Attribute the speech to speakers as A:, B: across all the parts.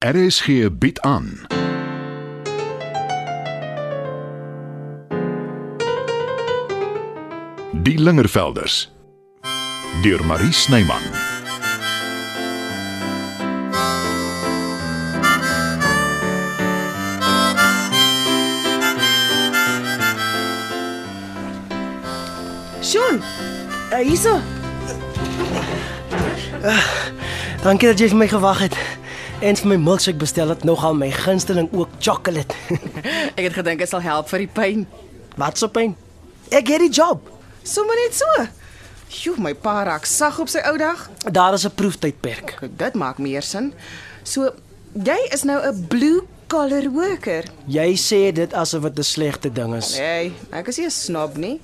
A: RSG bied aan. Die Lingervelders deur Marie Snyman.
B: Sjoe. Uh, hierso.
C: Dankie dat jy vir my gewag het en vir my milkshake bestel het, nogal my gunsteling ook chocolate.
B: Ek het gedink dit sal help vir die pyn.
C: Wat so pyn? Ek het die job.
B: Sommige net so. Sjoe, my pa raak sag op sy ou dag.
C: Daar is 'n proeftydperk.
B: Dit maak meer sin. So jy is nou 'n blue collar worker.
C: Jy sê dit asof dit 'n slegte ding is.
B: Nee, ek is nie 'n snob nie.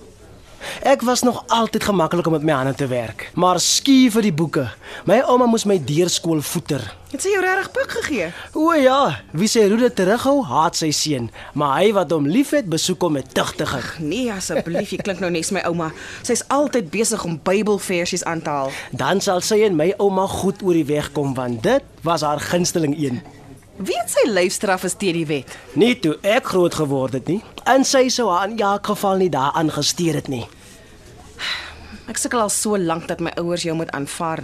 C: Ek was nog altyd gemaklik om met my hande te werk, maar skuur vir die boeke. My ouma moes my deurskool voeter.
B: Het sy jou regtig pik gegee?
C: O ja, wie sy roede terughou, haat sy seun, maar hy wat hom liefhet, besoek hom met tugtigheid.
B: Nee, asseblief, jy klink nou net soos my ouma. Sy's altyd besig om Bybelversies aan te haal.
C: Dan sal sy en my ouma goed oor die weg kom want dit was haar gunsteling een.
B: Weet sy lyfstraf is teen die wet.
C: Nie toe ek groot geword het nie. En sy sou haar in jaak geval nie daaraan gesteer het nie.
B: Ek sukkel al so lank dat my ouers jou moet aanvaar.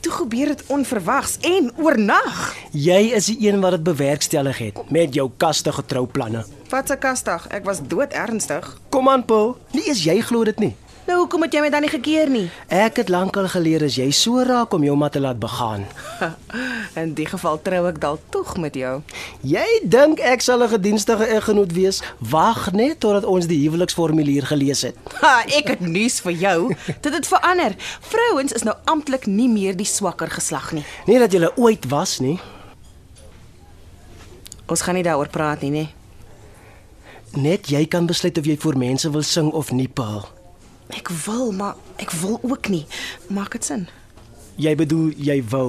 B: Toe gebeur dit onverwags en oornag.
C: Jy is die een wat dit bewerkstellig het met jou kastige trouplanne.
B: Wat 'n kastig. Ek was dood ernstig.
C: Kom aan, Paul. Nie eens jy glo dit nie.
B: Nou hoekom het jy my dan nie gekeer nie?
C: Ek het lankal geleer as jy so raak om jou mat te laat begaan.
B: In die geval trou ek dalk tog met jou.
C: Jy dink ek sal 'n gedienstige eggenoot wees? Wag net totdat ons die huweliksformulier gelees het.
B: Ha, ek het nuus vir jou. Dit het verander. Vrouens is nou amptelik nie meer die swakker geslag nie.
C: Nie dat jy ooit was nie.
B: Ons gaan nie daaroor praat nie, nee. nê.
C: Net jy kan besluit of jy vir mense wil sing of nie, Paul.
B: Ek wil, maar ek wil ook nie. Maak dit sin?
C: Jy bedoel jy wou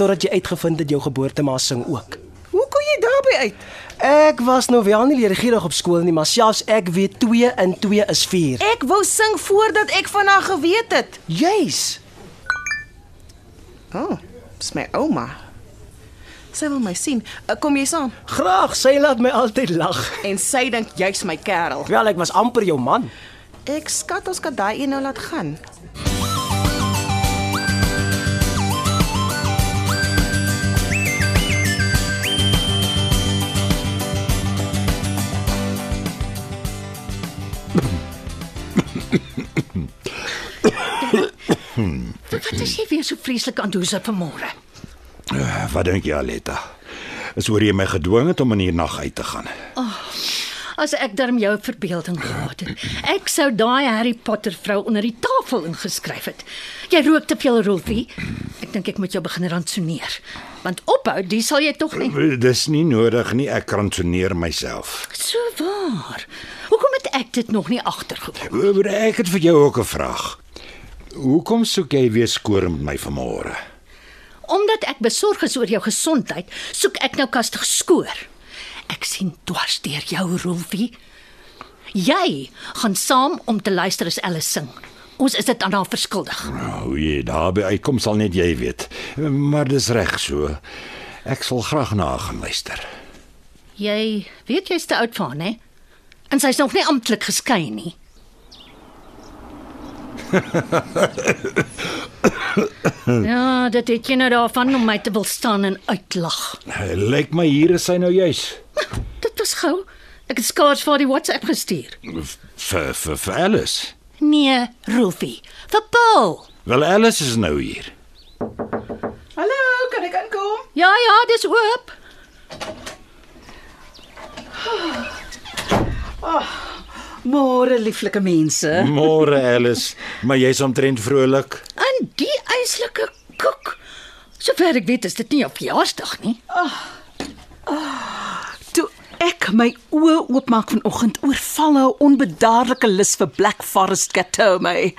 C: totdat jy uitgevind het jou geboortema sing ook.
B: Hoe kom jy daarby uit?
C: Ek was nou wel nie leergierig op skool nie, maar selfs ek weet 2 in 2 is 4.
B: Ek wou sing voordat ek van haar geweet het.
C: Juis.
B: O, oh, dis my ouma. Sy wil my sien. Eh, Kom jy saam?
C: Graag, sy laat my altyd lag.
B: En sy dink jy's my kerel.
C: Wel, ek was amper jou man.
B: Ek skat ons kan daai een nou laat gaan.
D: Wat is jy weer so vreeslik aan doen se vanmôre?
E: Ah, Wat dink jy, Aletta? Is oor jy my gedwing het om in die nag uit te gaan.
D: As ek darm jou verbeelding gehad het. Ek sou daai Harry Potter vrou onder die tafel ingeskryf het. Jy rook te veel, Rolfie. Ek dink ek moet jou begin rantsoneer. Want ophou, dis sal jy tog nie.
E: Dis nie nodig nie, ek kransoneer myself.
D: So waar. Hoekom het ek dit nog nie agtergekom?
E: Oor ek het vir jou ook 'n vraag. Hoekom soek jy weer skoor met my vanmôre?
D: Omdat ek besorg is oor jou gesondheid, soek ek nou kastig skoor. Ek sien dwars deur jou, Rolfie. Jy gaan saam om te luister as Alice sing. Ons is dit aan haar verskuldig.
E: Nou, Hoe jy daarby uitkom sal net jy weet. Maar dis reg so. Ek sal graag na gaan luister.
D: Jy weet jy's te oud vir haar, né? En sy's nog nie amptelik geskei nie. ja, dit het jy nou daarvan om my te wil staan en uitlag.
E: Lyk my hier is sy nou juis.
D: Dit was gou. Ek het skaars vir haar die WhatsApp gestuur.
E: Vir vir vir Alice.
D: Nee, Rolfie, vir Paul.
E: Wel Alice is nou hier.
B: Hallo, kan ek inkom?
D: Ja, ja, dis oop.
F: Môre lieflike mense.
E: Môre Alice, maar jy's omtrent vrolik.
D: En die eislike koek. Sover ek weet, is dit nie op verjaarsdag nie.
F: Toe ek my oë oopmaak vanoggend, oorval 'n onbedaarlike lus vir Black Forest Cateau my.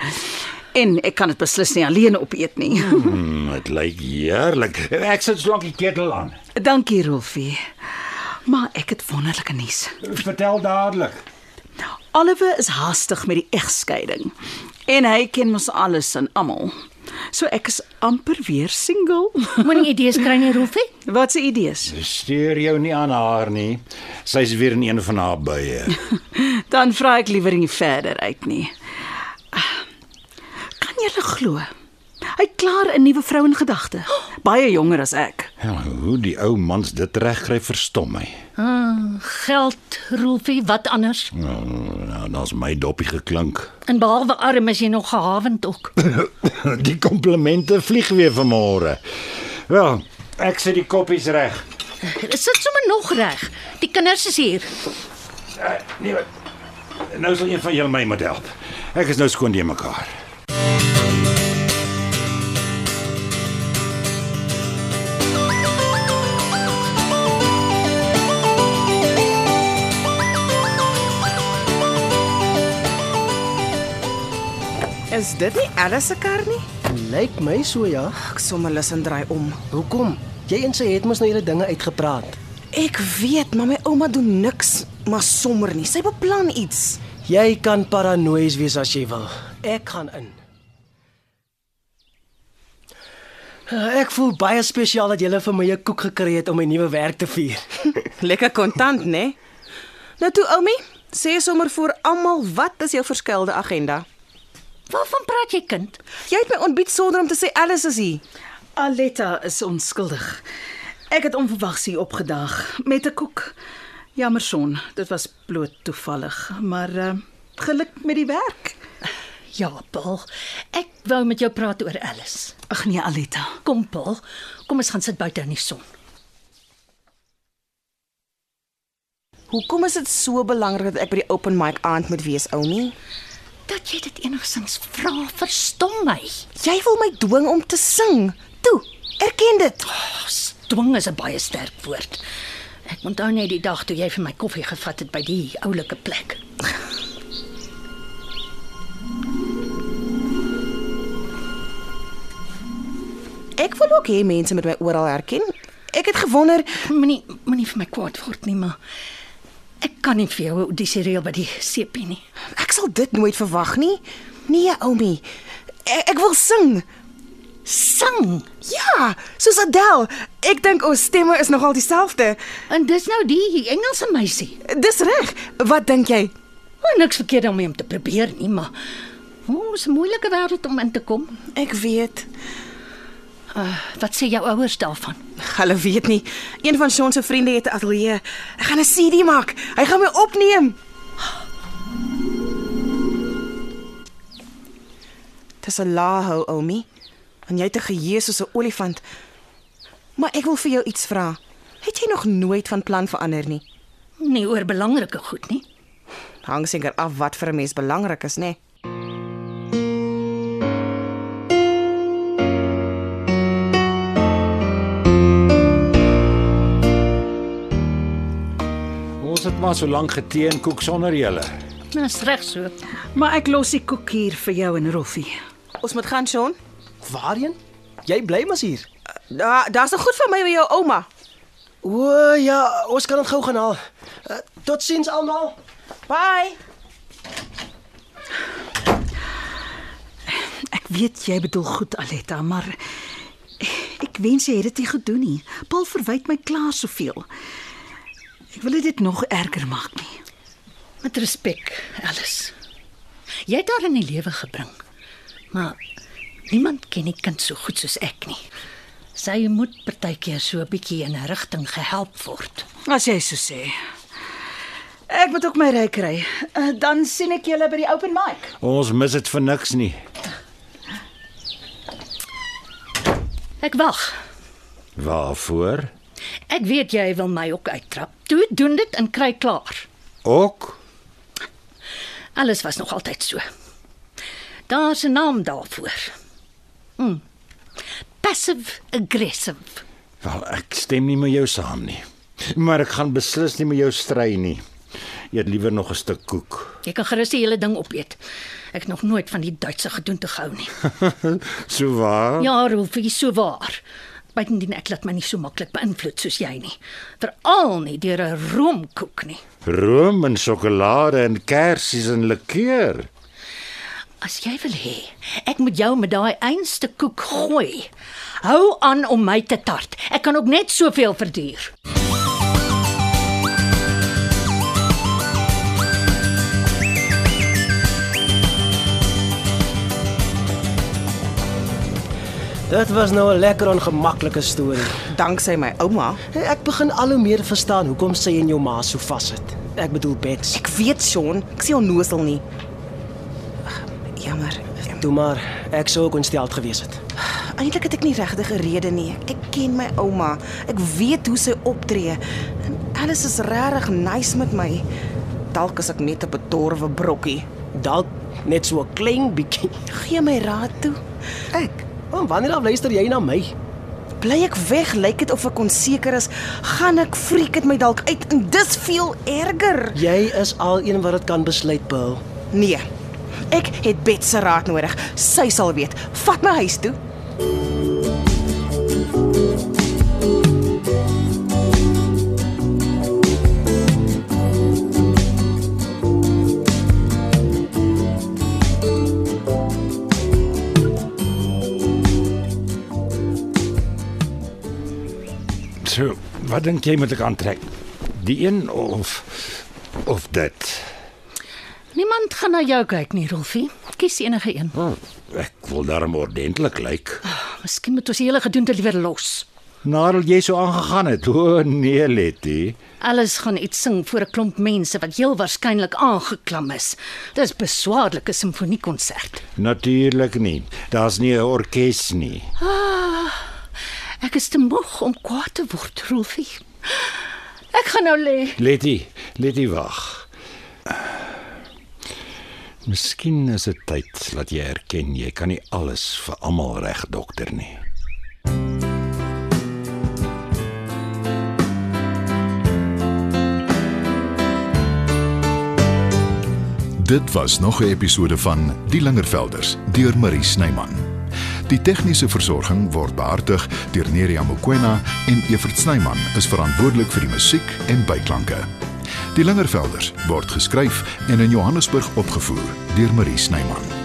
F: En ek kan dit beslis nie alleen opeet nie. Hmm.
E: Mm, Dit lyk heerlik. Ek sit slank die ketel aan.
F: Dankie Rolfie. Maar ek het wonderlike nuus.
E: Vertel dadelik.
F: Oliver is haastig met die egskeiding. En hy ken mos alles en almal. So ek is amper weer single.
D: Moenie idees kry nie, Rolfie.
F: Wat se idees?
E: Steur jou nie aan haar nie. Sy's weer in een van haar buie.
F: Dan vra ek liewer nie verder uit nie. Ah, Kan jy glo? Hy het klaar 'n nuwe vrou in gedagte. Baie jonger as ek.
E: Ja, hoe die ou mans dit regkry verstom my.
D: Ah, geld, Rolfie, wat anders?
E: Nou, nou dan's my dopie geklink.
D: En behalwe arm is jy nog gehavend ook.
E: Die komplimente vlieg weer vanmôre. Wel, ek sit die koppies reg.
D: Sit sommer nog reg. Die kinders is hier.
E: Uh, nee, wat. Nou sal een van julle my moet help. Ek is nou skoon die mekaar.
B: Is dit nie Alice se kar nie?
C: Lyk my so ja.
B: Ek sommer lus en draai om.
C: Hoekom? Jy en sy het mos nou julle dinge uitgepraat.
B: Ek weet, maar my ouma doen niks, maar sommer nie. Sy beplan iets.
C: Jy kan paranoïes wees as jy wil. Ek gaan in. Ek voel baie spesiaal dat jy vir my 'n koek gekry het om my nuwe werk te vier.
B: Lekker kontant, né? Nou toe, oumi, sê sommer vir almal wat is jou verskeilde agenda?
D: Waarvan praat jy, kind?
B: Jy het my ontbied sonder om te sê Alice is hier.
F: Aletta is onskuldig. Ek het onverwags hier opgedaag met 'n koek. Jammer son, dit was bloot toevallig, maar uh, geluk met die werk.
D: Ja, Paul. Ek wou met jou praat oor Alice.
F: Ag nee, Aletta.
D: Kom, Paul. Kom ons gaan sit buite in die son.
B: Hoekom is dit so belangrik dat ek by die open mic aand moet wees, oumi?
D: Dat jy dit enigstens vra, verstom my.
B: Jy wil my dwing om te sing. Toe, erken dit.
D: Ons dwing is 'n baie sterk woord. Ek onthou net die dag toe jy vir my koffie gevat het by die oulike plek.
B: Ek wil ook hê mense moet my oral herken. Ek het gewonder,
D: Moenie moenie vir my kwaad word nie, maar ek kan nie vir jou 'n audisie reël by die CP nie.
B: ek sal dit nooit verwag nie. Nee, oumi. Ek, ek wil sing.
D: Sing.
B: Ja, soos Adele. Ek dink ons stemme is nogal dieselfde.
D: En dis nou die Engelse meisie.
B: Dis reg. Wat dink jy?
D: Maar niks verkeerd daarmee om te probeer nie, maar ons moeilike wêreld om in te kom.
B: Ek weet.
D: Wat sê jou ouers daarvan?
B: Hulle weet nie. Een van Sean se vriende het 'n ateljee. Ek gaan 'n CD maak. Hy gaan my opneem. Dis 'n lahou, Oumi. En jy het 'n geheue soos 'n olifant. Maar ek wil vir jou iets vra. Het jy nog nooit van plan verander nie?
D: Nie oor belangrike goed nie.
B: Hang seker af wat vir 'n mens belangrik is, né? Nee?
E: Ons het maar so lank geteen koek sonder julle.
D: Dis Nou, reg so.
F: Maar ek los die koek hier vir jou en Roffie.
B: Ons moet gaan, Sean.
C: Waarheen? Jy bly mos hier.
B: Da, daar's nog goed vir my by jou ouma.
C: O ja, ons kan dit gou gaan haal. Uh, Totsiens almal.
B: Bye.
F: Ek weet jy bedoel goed Aletta, maar ek wens jy het dit nie gedoen nie. Paul verwyd my klaar soveel. Ek wil dit nog erger maak nie.
D: Met respek, Alice. Jy het haar in die lewe gebring. Maar niemand ken die kind so goed soos ek nie. Sy moet partykeer so 'n bietjie in 'n rigting gehelp word.
F: As jy so sê. Ek moet ook my ry kry. Eh, Dan sien ek julle by die open mic.
E: Ons mis dit vir niks nie.
D: Ek wag.
E: Waarvoor?
D: Ek weet jy wil my ook uittrap. Toe doen dit en kry klaar.
E: Ook
D: Alles was nog altyd so. Daar's 'n naam daarvoor. Hm. Passive aggressive.
E: Wel, ek stem nie met jou saam nie. Maar ek gaan beslis nie met jou stry nie. Eet liewer nog 'n stuk koek.
D: Jy kan gerus die hele ding opeet. Ek het nog nooit van die Duitse gedoen te gehou nie.
E: So waar?
D: Ja, Rolfie, so waar. Buitendien ek laat my nie so maklik beïnvloed soos jy nie. Veral nie deur 'n roomkoek nie.
E: Room en sjokolade en kersies en likeur.
D: As jy wil hê, ek moet jou met daai einste koek gooi. Hou aan om my te tart. Ek kan ook net soveel verduur.
C: Dit was nou 'n lekker ongemaklike storie.
B: Danksy my ouma.
C: Eh, Ek begin al hoe meer verstaan hoekom sy en jou ma so vassit. Ek bedoel Bets.
B: Ek weet, Sean, ek sien onnosel nie. Jammer.
C: Toe maar, ek sou ook ontsteld gewees het.
B: Eintlik het ek nie regtig 'n rede nie. Ek ken my ouma. Ek weet hoe sy optree. En alles is regtig nice met my. Dalk is ek net 'n bedorwe brokkie.
C: Dalk net so 'n klein bietjie.
B: Gee my raad toe.
C: Ek, oh, wanneer af luister jy na my?
B: Bly ek weg, lyk dit of ek onseker is, gaan ek freak dit my dalk uit en dis veel erger.
C: Jy is al een wat dit kan besluit, Bill.
B: Nee. Ek het Bet se raad nodig. Sy sal weet. Vat my huis toe.
E: So, wat dink jy moet ek aantrek? Die een of of dit?
D: Niemand gaan na jou kyk nie, Rolfie. Kies enige een.
E: Hm, Ek wil darm ordentlik lyk.
D: Miskien moet ons die hele gedoente liewer los.
E: Nadat jy so aangegaan het. O nee, Letty.
D: Alles gaan iets sing voor 'n klomp mense wat heel waarskynlik aangeklam is. Dis beswaarlike simfoniekonsert.
E: Natuurlik nie. Daar's nie 'n orkes nie.
D: Ek is te moeg om kwaad te word, Rolfie. Ek gaan nou lê.
E: Letty, Letty wag. Miskien is dit tyd dat jy erken jy kan nie alles vir almal reg dokter nie.
A: Dit was nog 'n episode van Die Lingervelders deur Marie Snyman. Die tegniese versorging word behartig deur Neriya Mkwena en Evert Snyman is verantwoordelik vir die musiek en byklanke. Die Lingervelders word geskryf en in Johannesburg opgevoer deur Marie Snyman.